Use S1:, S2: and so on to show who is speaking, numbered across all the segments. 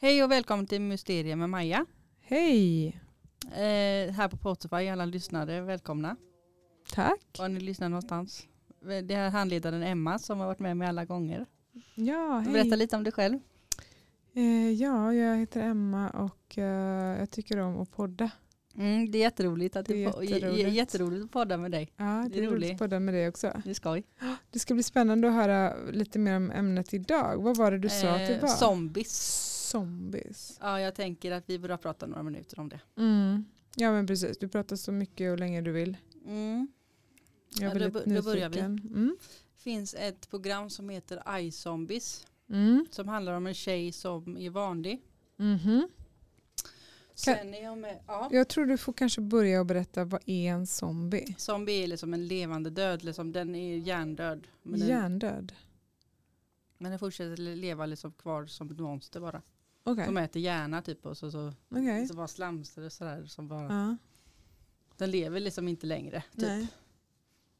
S1: Hej och välkommen till Mysterier med Maja.
S2: Hej!
S1: Eh, här på Spotify, alla lyssnare välkomna.
S2: Tack.
S1: Var ni lyssnar någonstans. Eh, Det är handledaren Emma som har varit med mig alla gånger.
S2: Ja, hej.
S1: Berätta lite om dig själv.
S2: Eh, ja, jag heter Emma och eh, jag tycker om att podda.
S1: Mm, det är jätteroligt att
S2: Det är
S1: du får- j- j-
S2: jätteroligt.
S1: jätteroligt att podda med dig.
S2: Ja, det är,
S1: Det är
S2: roligt
S1: roligt.
S2: att podda med dig också.
S1: Det är skoj.
S2: Det ska bli spännande att höra lite mer om ämnet idag. Vad var det du sa att det
S1: Eh,
S2: var?
S1: Zombies.
S2: Zombies.
S1: Ja, jag tänker att vi borde prata några minuter om det.
S2: Mm. Ja, men precis. Du pratar så mycket och länge du vill.
S1: Mm.
S2: Jag
S1: Ja,
S2: är
S1: då
S2: väldigt
S1: bo- då börjar vi.
S2: nyfiken. Mm.
S1: finns ett program som heter iZombies
S2: Mm.
S1: som handlar om en tjej som är vanlig.
S2: Mhm.
S1: Sen är jag med, ja.
S2: Jag tror du får kanske börja och berätta vad är en zombie?
S1: Zombie är liksom en levande död, liksom, den är hjärndöd. Men den,
S2: Hjärndöd.
S1: men den fortsätter leva liksom kvar som ett monster bara.
S2: Okej.
S1: Som äter hjärna typ och så, så,
S2: Okej.
S1: så bara slamsar det sådär. Som bara,
S2: Ja.
S1: Den lever liksom inte längre. Typ.
S2: Nej.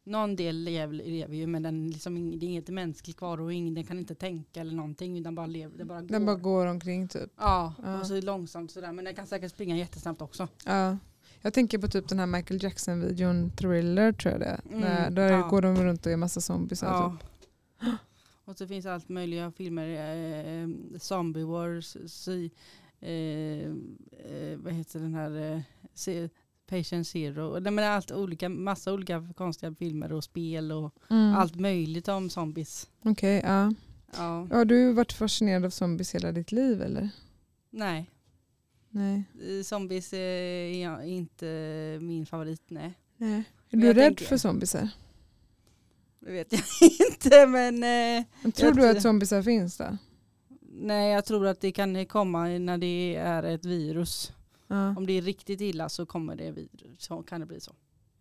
S1: Någon del lever, lever ju men den liksom, ing- det är inget mänskligt kvar och ingen, den kan inte tänka eller någonting utan bara lever. Den bara går.
S2: Den bara går omkring typ.
S1: Ja,
S2: Ja.
S1: och så långsamt sådär. Men den kan säkert springa jättesnabbt också.
S2: Ja. Jag tänker på typ den här Michael Jackson-videon Thriller tror jag det är.
S1: Mm,
S2: Där, där
S1: ja.
S2: går de runt och är massa zombies. här,
S1: Ja.
S2: Typ.
S1: Och så finns allt möjliga filmer. Eh, Zombie Wars, si, eh, eh, vad heter den här, eh, se, Patient Zero. Och Det men allt olika, massa olika konstiga filmer och spel och
S2: Mm.
S1: allt möjligt om zombies.
S2: Okej, ja.
S1: Ja,
S2: Har du varit fascinerad av zombies hela ditt liv eller?
S1: nej.
S2: Nej.
S1: Eh, Zombies eh, är jag inte min favorit, nej.
S2: Nej. Är
S1: Men
S2: du
S1: jag
S2: rädd
S1: tänker-
S2: för zombiesar?
S1: Det vet jag inte, men eh,
S2: Men Tror
S1: Jag
S2: du
S1: tror-
S2: att zombiesar finns då?
S1: nej, jag tror att det kan komma när det är ett virus.
S2: Ja.
S1: Om det är riktigt illa så kommer det virus, så kan det bli så.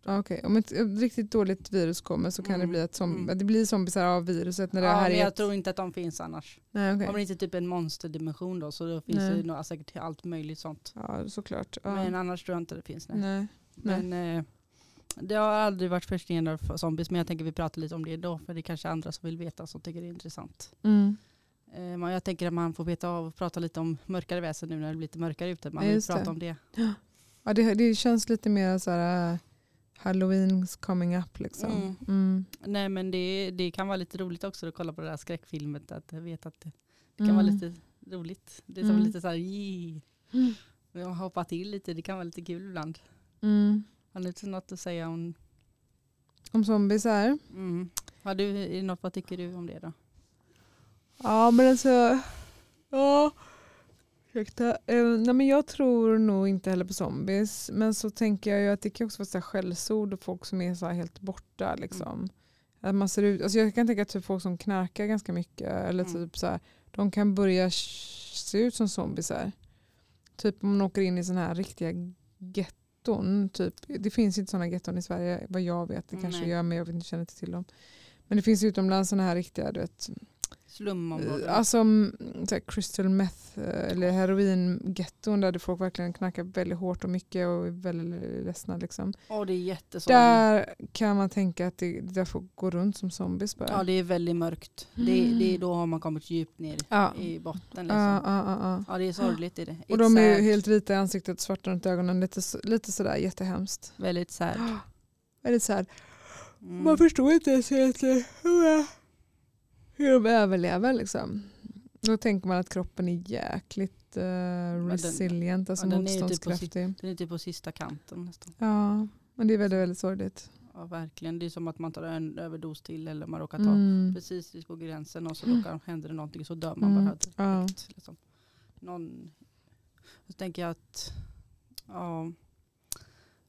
S2: Ja, Okej, om ett ett riktigt dåligt virus kommer så kan det
S1: Mm,
S2: bli att zom-
S1: mm.
S2: att det blir zombiesar av viruset när det
S1: ja,
S2: har
S1: men jag
S2: härjat.
S1: tror inte att de finns annars.
S2: Nej, okej.
S1: Om det inte är typ en monsterdimension då så då finns
S2: Nej.
S1: det nog säkert allt möjligt sånt.
S2: Ja, såklart. Ja.
S1: Men annars tror jag inte det finns. Nej.
S2: Nej. nej.
S1: Men eh, det har aldrig varit förstenad för zombies men jag tänker vi pratar lite om det då för det är kanske andra som vill veta som tycker det är intressant.
S2: Mm.
S1: Eh, men jag tänker att man får veta av och prata lite om mörkare väsen nu när det blir lite mörkare ute. Man
S2: Ja,
S1: vill
S2: just
S1: prata
S2: det.
S1: om det.
S2: Ja, det, det känns lite mer så här äh, Halloween's coming up liksom.
S1: Mm.
S2: Mm.
S1: Nej men det, det kan vara lite roligt också att kolla på det här skräckfilmet att veta att det kan vara lite roligt. Det är som
S2: Mm.
S1: lite så här, "Yee." Och hoppa till lite, det kan vara lite kul ibland.
S2: Mm.
S1: Har du något att säga om
S2: Om zombies är?
S1: Mm. Har du är det något, vad tycker du om det då?
S2: Ja men alltså, ja. Ursäkta. Eh, nej, men jag tror nog inte heller på zombies. Men så tänker jag ju att det kan också vara så här skällsord och folk som är så här helt borta.
S1: Mm.
S2: Liksom. Att man ser ut, alltså jag kan tänka att typ folk som knarkar ganska mycket eller
S1: Mm.
S2: typ så här, de kan börja sh- se ut som zombiesar. Typ om man åker in i sådana här riktiga getton. Typ. Det finns inte sådana getton i Sverige vad jag vet. Det
S1: Mm,
S2: kanske
S1: nej.
S2: gör men jag vet inte, känner inte till dem. Men det finns utomlands sådana här riktiga du vet,
S1: Slumområden?
S2: Alltså mm, så här crystal meth eh, eller heroingetton där det folk verkligen knackar väldigt hårt och mycket och är väldigt ledsna. Liksom.
S1: Åh, det är jättesorgligt.
S2: Där kan man tänka att det, det där får gå runt som zombies bara.
S1: Ja det är väldigt mörkt. Det, det, är- då har man kommit djupt ner
S2: Mm. ja.
S1: i botten. Liksom.
S2: ja, ja, ja, ja.
S1: Ja det är sorgligt. Är det.
S2: Och
S1: It's
S2: de är ju
S1: sad.
S2: helt vita i ansiktet, svarta runt ögonen, lite, så- lite sådär jättehemskt.
S1: Väldigt sad.
S2: Väldigt så här,
S1: Mm.
S2: Man förstår inte ens egentligen hur- hur de överlever liksom. Då tänker man att kroppen är jäkligt eh, resilient, alltså
S1: ja, den är ju typ på
S2: motståndskraftig.
S1: Den är typ på sista kanten nästan.
S2: Ja, men det är väldigt, väldigt sorgligt.
S1: Ja verkligen. Det är som att man tar en överdos till eller man råkar ta
S2: Mm.
S1: precis på gränsen och så råkar, händer det någonting så dör man
S2: Mm,
S1: bara. direkt,
S2: ja.
S1: Liksom. Någon, så tänker jag att ja,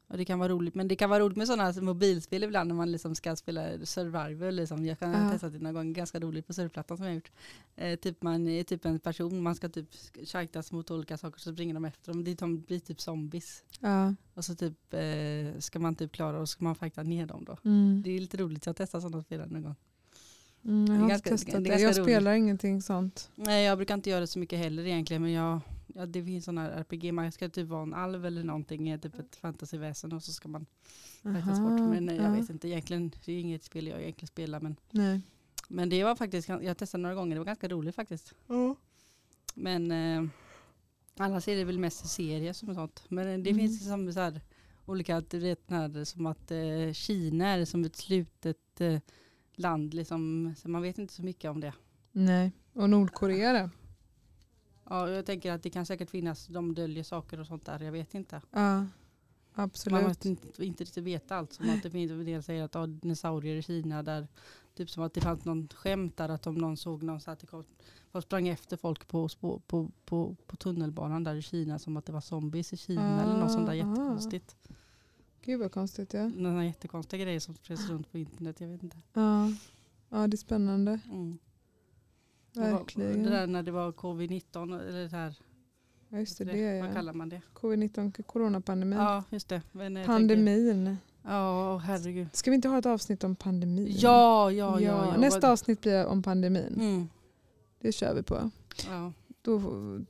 S1: ja, det kan vara roligt. Men det kan vara roligt med sådana här mobilspel ibland när man liksom ska spela survival. Liksom. Jag kan
S2: Ja.
S1: ha testat det någon gång, ganska roligt på surfplattan som jag har gjort. Eh, typ man är typ en person, man ska typ fightas mot olika saker så springer de efter dem. Det är- De blir typ zombies.
S2: Ja.
S1: Och så typ, eh, ska man typ klara och så ska man fighta ner dem då.
S2: Mm.
S1: Det är lite roligt, jag testar sådana spel någon gång.
S2: Mm, jag
S1: det är
S2: har
S1: ganska-
S2: inte testat
S1: det
S2: det.
S1: är
S2: Jag
S1: ganska
S2: spelar ingenting sånt.
S1: Nej jag brukar inte göra det så mycket heller egentligen men jag, ja, det finns sådana här RPG, man ska typ vara en alv eller någonting, eh, typ ett fantasyväsen och så ska man räknas bort.
S2: Aha,
S1: Men eh, jag
S2: ja.
S1: vet inte egentligen, det är inget spel jag egentligen spelar men,
S2: Nej.
S1: men det var faktiskt, jag testade några gånger, det var ganska roligt faktiskt. Men eh, Annars är det väl mest serier som sånt. Men det
S2: Mm.
S1: finns liksom så här, olika, du vet den här, som att eh, Kina är som ett slutet eh, land. Liksom, så man vet inte så mycket om det.
S2: Nej. Och Nordkorea då?
S1: Ja, jag tänker att det kan säkert finnas, de döljer saker och sånt där, jag vet inte.
S2: Ja,
S1: Man
S2: absolut.
S1: måste inte, inte riktigt veta allt. Som att det finns en del säger att ja, dinosaurier i Kina där, typ som att det fanns någon skämt där att om någon såg någon så att det kom, folk sprang efter folk på, spå- på, på, på tunnelbanan där i Kina som att det var zombies i Kina eller något sånt där
S2: Aha.
S1: jättekonstigt.
S2: ah. Gud vad konstigt. Ja.
S1: Några jättekonstiga grejer som spreds runt på internet, jag vet inte.
S2: Ja. ja, det är spännande.
S1: Mm. Det var-
S2: Verkligen.
S1: Det där när det var covid-19 eller det här,
S2: Ja, just det,
S1: vad
S2: det
S1: vad
S2: ja.
S1: kallar man det?
S2: Covid-19, coronapandemin.
S1: Ja, just det. Men jag tänker-
S2: Pandemin.
S1: Ja, herregud.
S2: Ska vi inte ha ett avsnitt om pandemin?
S1: Ja, ja, ja.
S2: Ja,
S1: ja,
S2: Nästa
S1: Vad-
S2: avsnitt blir om pandemin.
S1: Mm,
S2: Det kör vi på.
S1: ja.
S2: Då,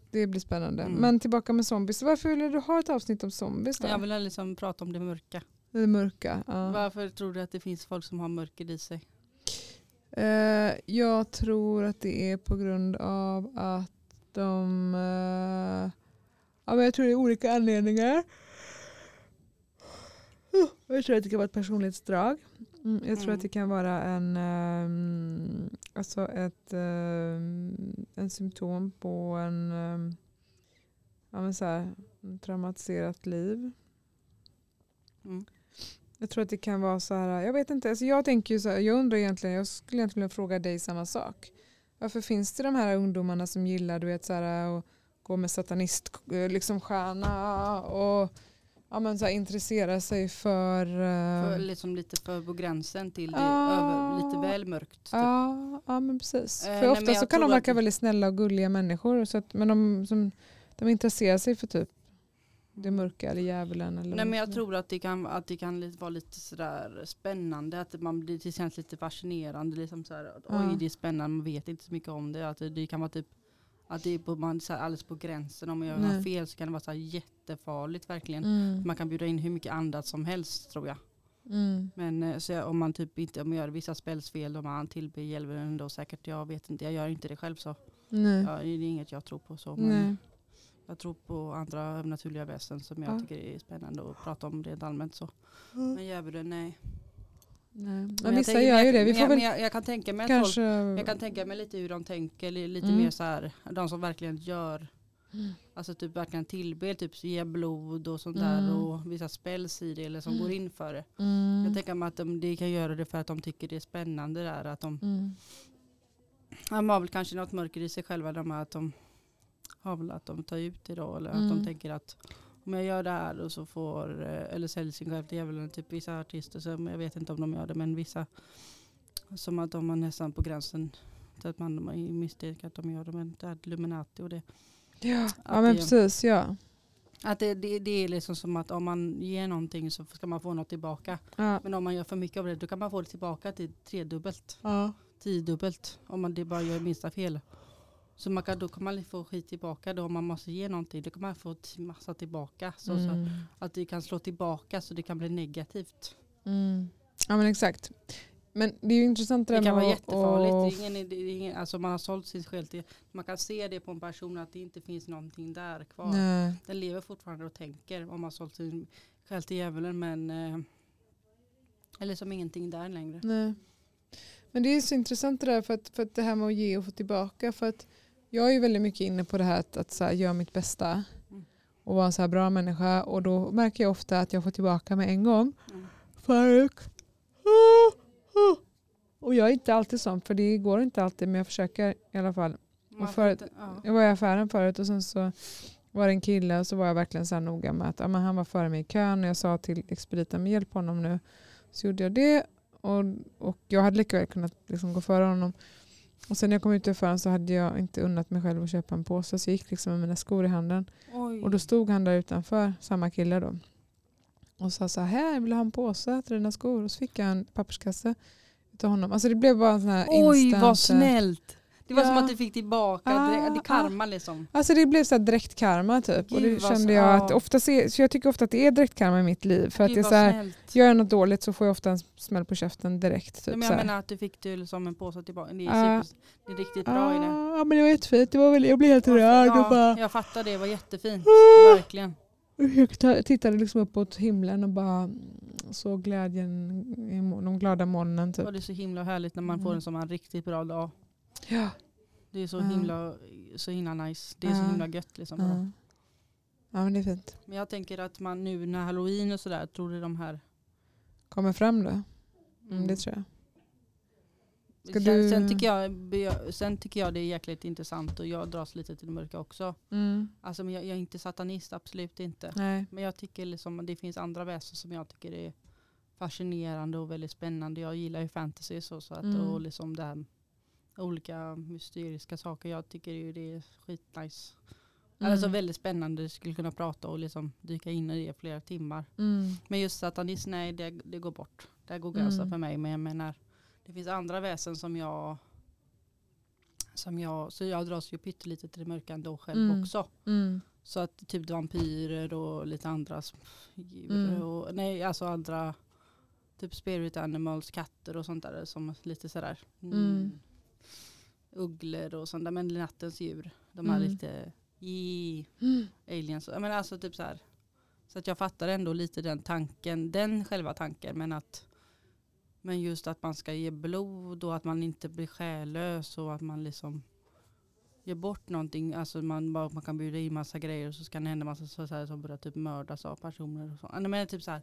S2: det blir spännande.
S1: Mm.
S2: Men tillbaka med zombies. Varför ville du ha ett avsnitt om zombies då?
S1: Jag vill liksom prata om det mörka.
S2: Det mörka. Ja.
S1: Varför tror du att det finns folk som har mörker i sig?
S2: Eh, jag tror att det är på grund av att de... eh, ja, men jag tror det är olika anledningar. Huh, Jag tror att det kan vara ett personlighetsdrag. Mm, jag tror
S1: Mm.
S2: att det kan vara en, ehm, alltså ett ehm, en symptom på en, ehm, ja, men så här, en traumatiserat liv.
S1: Mm.
S2: Jag tror att det kan vara så här, jag vet inte, alltså jag tänker ju så här, jag undrar egentligen, jag skulle egentligen vilja fråga dig samma sak. Varför finns det de här ungdomarna som gillar, du vet så här, att gå med satanist, eh, liksom stjärna och ja, men så här, intressera sig för, eh,
S1: För, liksom lite för på gränsen till det,
S2: Ah.
S1: över, lite väl mörkt. Typ.
S2: Ja, ja men precis.
S1: Eh,
S2: för
S1: nej,
S2: ofta
S1: men jag
S2: så kan de
S1: tror att-
S2: verka väldigt snälla och gulliga människor. Så att, men de, som, de intresserar sig för typ det mörka eller djävulen. Eller
S1: Nej,
S2: vad
S1: men jag
S2: som-
S1: tror att det kan, att det kan li- vara lite sådär spännande, att man blir, det känns lite fascinerande. Liksom såhär, att,
S2: Ja.
S1: Oj, det är spännande, man vet inte så mycket om det. Att det, det kan vara typ att det är på, man, såhär, alldeles på gränsen, om man gör
S2: Nej.
S1: något fel så kan det vara såhär, jättefarligt verkligen.
S2: Mm,
S1: Man kan bjuda in hur mycket annat som helst tror jag.
S2: mm,
S1: Men eh, så jag- om man typ inte, om man gör vissa spelsfel och man tillber djävulen då säkert, jag vet inte, jag gör inte det själv så.
S2: nej.
S1: Ja, det är inget jag tror på så. Men
S2: nej.
S1: Jag tror på andra naturliga väsen som jag
S2: Ja.
S1: tycker är spännande att prata om rent allmänt så.
S2: Mm.
S1: Men djävulen, nej.
S2: nej. Men,
S1: jag
S2: vissa
S1: tänker-
S2: gör ju
S1: jag-
S2: det. Vi
S1: men
S2: får
S1: jag,
S2: väl
S1: men jag, jag kan tänka mig att folk,
S2: kanske...
S1: jag kan tänka mig lite hur de tänker, li- lite
S2: Mm.
S1: mer så här, de som verkligen gör
S2: Mm.
S1: Alltså typ verkligen tillber, typ ge blod och sånt
S2: Mm.
S1: där och vissa spells i det eller som
S2: Mm.
S1: går in för det.
S2: Mm,
S1: Jag tänker mig att de, de kan göra det för att de tycker det är spännande där att de
S2: mm,
S1: De har väl kanske något mörker i sig själva, de här att de har väl att de tar ut det då, eller att
S2: Mm.
S1: de tänker att om jag gör det här och så får, eh, eller säljer sin själ till djävulen, typ vissa artister, som, jag vet inte om de gör det, men vissa som att de är nästan på gränsen till att man är misstänker att de gör det, men det är Illuminati och det.
S2: Ja, ja
S1: Att
S2: men
S1: det-
S2: precis. Ja.
S1: Att det, det, det är liksom som att om man ger någonting så ska man få något tillbaka.
S2: Ja.
S1: Men om man gör för mycket av det, då kan man få det tillbaka till tredubbelt.
S2: Ja.
S1: tiodubbelt om man det bara gör minsta fel. Så man kan, då kan man få skit tillbaka då om man måste ge någonting. Då kan man få t- massa tillbaka. Så, så
S2: Mm.
S1: att det kan slå tillbaka så det kan bli negativt.
S2: Mm. ja men exakt. Men det är ju intressant
S1: Det
S2: där
S1: kan
S2: med
S1: vara
S2: att-
S1: jättefarligt.
S2: att-
S1: Det är ingen, det är ingen, alltså man har sålt sin själ till. Man kan se det på en person att det inte finns någonting där kvar.
S2: Nej.
S1: Den lever fortfarande och tänker om man har sålt sin själ till djävulen men eh, eller som ingenting där längre.
S2: Nej. Men det är så intressant det där för att, för att det här med att ge och få tillbaka. För att jag är ju väldigt mycket inne på det här att, att så här, göra mitt bästa
S1: Mm.
S2: och vara en så här bra människa. Och då märker jag ofta att jag får tillbaka med en gång.
S1: Mm.
S2: Faruk. Ah, ah. Och jag är inte alltid sån för det går inte alltid men jag försöker i alla fall.
S1: Man får
S2: för-
S1: inte- ja.
S2: Jag var i affären förut och sen så var det en kille och så var jag verkligen så här noga med att ja, men han var före mig i kön och jag sa till expediten men hjälp honom nu. Så gjorde jag det och, och jag hade lika väl kunnat liksom gå före honom. Och sen när jag kom ut ur affären så hade jag inte unnat mig själv att köpa en påse så jag gick liksom med mina skor i handen.
S1: Oj.
S2: Och då stod han där utanför, samma kille då. Och sa så här, här vill du ha en påse till dina skor? Och så fick jag en papperskasse utav honom. Alltså det blev bara en sån här
S1: Oj
S2: instant...
S1: vad snällt. Det var som
S2: Ja.
S1: att du fick tillbaka,
S2: Ah,
S1: direkt, det är karma liksom.
S2: Alltså det blev så här direkt karma typ. och
S1: Gud,
S2: det
S1: vad
S2: kände
S1: så-
S2: jag
S1: ja.
S2: att ofta se, så jag tycker ofta att det är direkt karma i mitt liv. För att
S1: Gud,
S2: det är
S1: vad
S2: så här,
S1: snällt.
S2: gör jag något dåligt så får jag ofta en smäll på käften direkt. Typ,
S1: Nej, men
S2: så
S1: jag
S2: här.
S1: menar att du fick till som en påse tillbaka. Det är,
S2: Ja.
S1: super, det är riktigt bra i det.
S2: Ah, men det var jättefint. Det var väl, jag blev helt rörd och bara "Ah!"
S1: Ja, jag fattar det, det var jättefint. Verkligen.
S2: jag tittade liksom uppåt himlen och bara såg glädjen, i mo- de glada molnen typ.
S1: Och det är så himla härligt när man
S2: Mm. Ah.
S1: får en sån här riktigt bra dag.
S2: Ja.
S1: Det är så
S2: Ja.
S1: himla, så himla nice. Det är så
S2: Ja.
S1: himla gött liksom.
S2: Ja. ja men det är fint.
S1: Men jag tänker att man nu när halloween och sådär, tror du de här...
S2: Kommer fram då. Mm,
S1: Mm.
S2: det tror jag. ska
S1: sen,
S2: du-
S1: sen, tycker jag, be- sen tycker jag det är jäkligt intressant och jag dras lite till det mörka också. Alltså men jag, jag är inte satanist, absolut inte.
S2: Mm, Nej.
S1: Men jag tycker liksom att det finns andra väsen som jag tycker är fascinerande och väldigt spännande. Jag gillar ju fantasy så, så att,
S2: Mm.
S1: och liksom det här olika mysteriska saker. Jag tycker ju det är skitnice. Alltså
S2: Mm.
S1: väldigt spännande, skulle kunna prata och liksom dyka in i det i flera timmar.
S2: Mm.
S1: Men just satanism, nej det, det går bort. Det går gränsen
S2: Mm.
S1: för mig. Men jag menar, det finns andra väsen som jag som jag, så jag dras ju pyttelite till det mörka ändå själv
S2: Mm.
S1: också.
S2: Mm.
S1: Så att typ vampyrer och lite andra s- djur.
S2: Mm.
S1: Och, nej, alltså andra typ spirit animals, katter och sånt där som lite sådär. Mm.
S2: Mm.
S1: Ugglor och sånt där, men nattens djur. De här
S2: Mm.
S1: lite i aliens. Men alltså typ så här. Så att jag fattar ändå lite den tanken, den själva tanken. Men att men just att man ska ge blod och att man inte blir själlös och att man liksom ger bort någonting. Alltså man, bara- man kan bjuda in massa grejer och så kan det hända massa så så här som börjar typ mördas av personer. Och så. Nej, Men typ så här,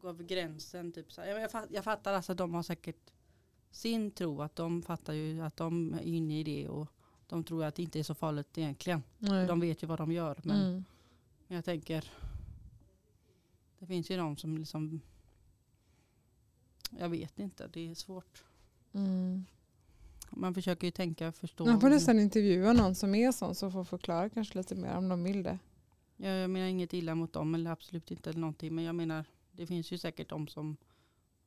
S1: gå över gränsen. Typ så här. Jag, jag, fat- jag fattar alltså att de har säkert sin tro, att de fattar ju att de är inne i det och de tror att det inte är så farligt egentligen.
S2: Nej.
S1: De vet ju vad de gör. Men
S2: Mm.
S1: men jag tänker, det finns ju de som liksom, jag vet inte, det är svårt.
S2: Mm.
S1: Man försöker ju tänka, förstå.
S2: Man får nästan intervjua någon som är sån så får förklara kanske lite mer om de vill det.
S1: jag, jag menar inget illa mot dem, eller absolut inte eller någonting, men jag menar, det finns ju säkert de som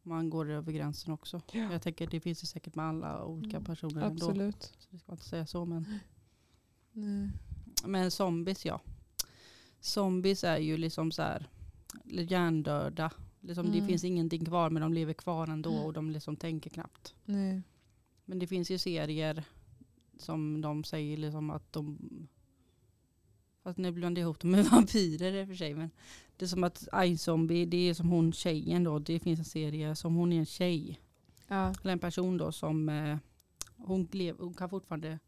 S1: man går över gränsen också.
S2: Ja.
S1: Jag tänker det finns ju säkert med alla olika
S2: Mm,
S1: personer ändå.
S2: Absolut.
S1: Så det ska man inte säga så, men,
S2: Nej.
S1: men zombies ja. Zombies är ju liksom så här hjärndöda. Liksom, Det
S2: Mm.
S1: finns ingenting kvar men de lever kvar ändå och de liksom tänker knappt.
S2: Nej.
S1: Men det finns ju serier som de säger liksom att de... Fast nu blandar jag ihop dem med vampyrer i och för sig. Men det är som att I Zombie, det är som hon tjejen då. Det finns en serie som hon är en tjej.
S2: Ja.
S1: Eller en person då som... Eh, hon, lev, hon kan fortfarande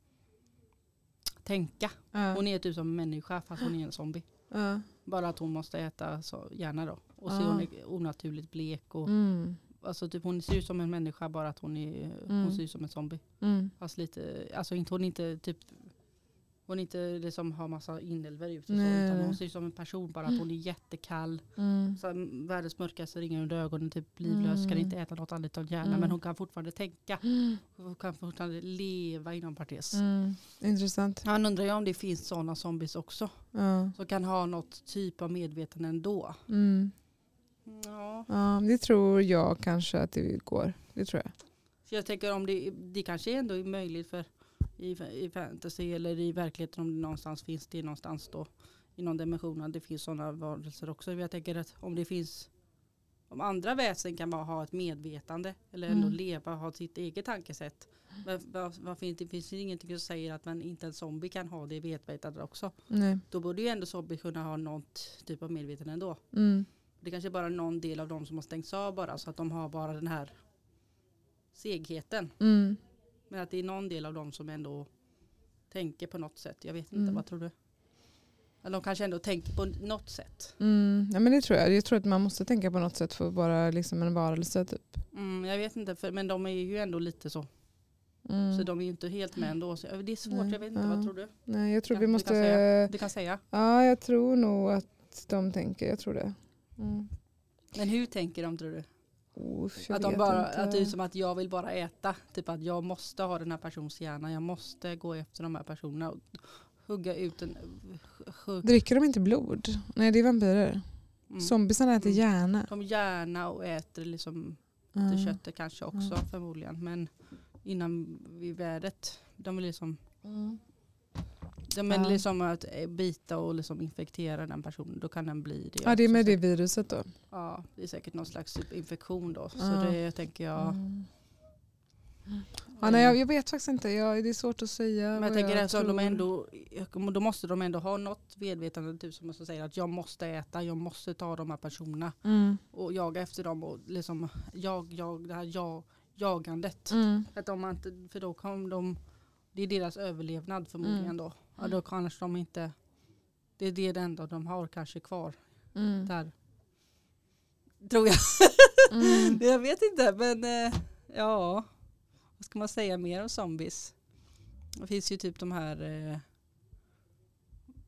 S1: tänka.
S2: Ja.
S1: Hon är typ som en människa fast hon är en zombie.
S2: ja.
S1: Bara att hon måste äta så, gärna då. Och så är hon onaturligt blek. Och,
S2: Ah. Mm.
S1: alltså typ hon ser ut som en människa bara att hon, är,
S2: Mm.
S1: hon ser ut som en zombie.
S2: Mm.
S1: Fast lite, alltså inte, hon är inte typ hon är inte liksom har massa inälvor ut och så,
S2: Nej,
S1: utan
S2: nej.
S1: hon ser ut som en person bara att hon är jättekall.
S2: Mm.
S1: Så här, världens mörkaste ringar under ögonen, typ livlös, kan
S2: Mm.
S1: inte äta något annat än hjärnan
S2: Mm.
S1: men hon kan fortfarande tänka. Hon kan fortfarande leva inom parentes.
S2: Mm. Intressant.
S1: Han undrar ju om det finns sådana zombies också
S2: Ja.
S1: som kan ha något typ av medvetande ändå.
S2: Mm.
S1: Ja.
S2: Ja, det tror jag kanske att det går. Det tror jag.
S1: Så jag tänker om det, det kanske ändå är möjligt för i, i fantasy eller i verkligheten om det någonstans finns det någonstans då i någon dimension att det finns sådana varelser också. Men Jag tänker att om det finns om andra väsen kan bara ha ett medvetande eller ändå
S2: Mm.
S1: leva ha sitt eget tankesätt. Men vad- vad finns det finns ju ingenting som säger att man inte en zombie kan ha det medvetandet också.
S2: Nej.
S1: Då borde ju ändå zombie kunna ha någon typ av medvetande ändå.
S2: Mm.
S1: Det kanske är bara någon del av dem som har stängts av bara så att de har bara den här segheten.
S2: Mm.
S1: Men att det är någon del av dem som ändå tänker på något sätt. Jag vet inte,
S2: Mm.
S1: vad tror du? Eller de kanske ändå tänker på något sätt.
S2: Mm. Ja, men det tror jag. Jag tror att man måste tänka på något sätt för att vara liksom en varelse. Typ.
S1: Mm, jag vet inte, för, men de är ju ändå lite så.
S2: Mm.
S1: Så de är ju inte helt med ändå. Så det är svårt,
S2: Nej,
S1: jag vet inte,
S2: ja.
S1: vad tror du?
S2: Nej, jag tror
S1: Ja,
S2: vi
S1: du kan
S2: måste...
S1: säga. Du kan säga.
S2: Ja, jag tror nog att de tänker. Jag tror det. Mm.
S1: Men hur tänker de tror du?
S2: Oh, jag
S1: att, de
S2: vet
S1: bara,
S2: inte.
S1: att det är som att jag vill bara äta. Typ att jag måste ha den här persons hjärna. Jag måste gå efter de här personerna och hugga ut en... Hugg,
S2: Dricker de inte blod? Nej, det är vampyrer.
S1: mm.
S2: Zombisarna äter
S1: Mm.
S2: hjärna. Mm.
S1: De gärna och äter liksom
S2: Ja.
S1: till köttet kanske också förmodligen. Men innan vid vädret. de är liksom, de är
S2: Ja.
S1: liksom att eh, bita och liksom infektera den personen. Då kan den bli det.
S2: Ja, det är
S1: också,
S2: med
S1: så-
S2: det viruset då.
S1: Ja, det är säkert någon slags typ infektion då. Så
S2: Ja.
S1: det tänker jag.
S2: Mm. Ja, nej, jag, jag vet faktiskt inte, jag, det är svårt att säga.
S1: Men
S2: vad
S1: jag tänker
S2: jag
S1: eftersom de
S2: tror.
S1: ändå, då måste de ändå ha något medvetande typ som säger att jag måste äta, jag måste ta de här personerna
S2: Mm.
S1: och jaga efter dem och liksom jag, jag, det här jag, jagandet.
S2: Mm.
S1: Att om man inte, för då kommer de, det är deras överlevnad förmodligen
S2: Mm.
S1: då. Ja, då kanske de inte, det är det enda de har kanske kvar
S2: Mm.
S1: där. Tror jag.
S2: Mm.
S1: Jag vet inte men eh, ja, vad ska man säga mer om zombies? Det finns ju typ de här eh,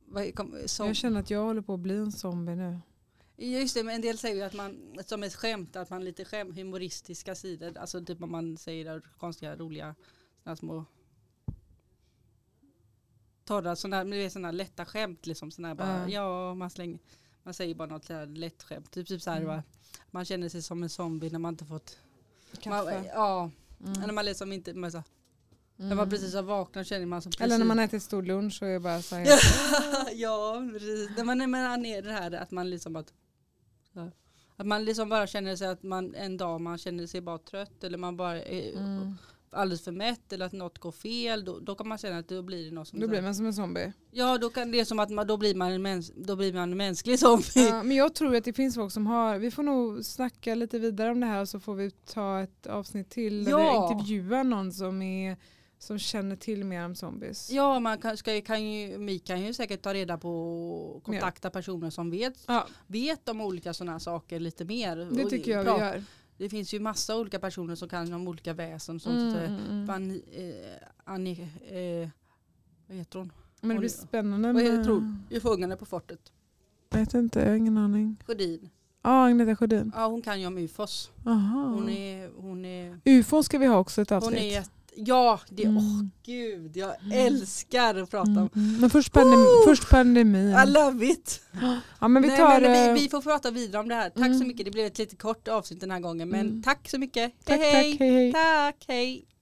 S1: vad är- kom, som,
S2: Jag känner att jag håller på att bli en zombie nu.
S1: Just det, men en del säger ju att man, som ett skämt, att man lite skäm, humoristiska sidor, alltså typ om man säger där konstiga, roliga, såna här små torra, sådana, men det är sådana lätta skämt liksom, sådana här bara,
S2: Ja.
S1: ja, man slänger, man säger bara något sådär lätt skämt, typ, typ så här,
S2: Mm.
S1: va, man känner sig som en zombie när man inte fått, man,
S2: Kaffe.
S1: ja, när
S2: Mm.
S1: man liksom inte, man, så, när
S2: Mm.
S1: man precis har vaknat känner man som precis,
S2: Eller när man äter stor lunch och är bara så här.
S1: Ja, ja, precis. När man är nere det här att man liksom att, så här, att man liksom bara känner sig att man en dag man känner sig bara trött eller man bara är
S2: Mm.
S1: alldeles för mätt eller att något går fel då, då kan man känna att då blir det något som
S2: Då blir man som en zombie.
S1: Ja då kan det är som att man, då blir man en mäns, då blir man en mänsklig zombie.
S2: Ja, men jag tror att det finns folk som har, vi får nog snacka lite vidare om det här och så får vi ta ett avsnitt till där
S1: Ja.
S2: vi intervjuar någon som, är, som känner till mer om zombies.
S1: Ja man kan, ska, kan ju, Mika kan ju säkert ta reda på och kontakta personer som vet,
S2: Ja,
S1: vet om olika sådana saker lite mer.
S2: det
S1: Och
S2: tycker jag vi
S1: prata-
S2: gör.
S1: Det finns ju massa olika personer som kan om olika väsen. Som
S2: Mm,
S1: typ,
S2: mm, mm.
S1: Van, eh, Annie, eh, vad heter hon?
S2: Men det blir spännande.
S1: Vad heter
S2: med-
S1: hon? I Fångarna på fortet.
S2: Jag vet inte, jag har ingen aning.
S1: Sjödin.
S2: Ja, ah, Agneta Sjödin.
S1: Ja, hon kan ju om ufos.
S2: Aha.
S1: Hon är, hon är,
S2: UFO ska vi ha också ett
S1: hon
S2: avsnitt.
S1: är jätte... Ja, det, åh
S2: Mm.
S1: gud, jag älskar att prata om.
S2: Mm. Men först, pandem
S1: Oh!
S2: först pandemin.
S1: I love it.
S2: Ja, Mm. men vi
S1: Nej,
S2: tar...
S1: men,
S2: eh,
S1: vi, vi får prata vidare om det här. Tack
S2: Mm.
S1: så mycket, det blev ett lite kort avsnitt den här gången. Men
S2: Mm.
S1: tack så mycket.
S2: Tack, tack.
S1: hej.
S2: Hej, hej.
S1: Tack, hej.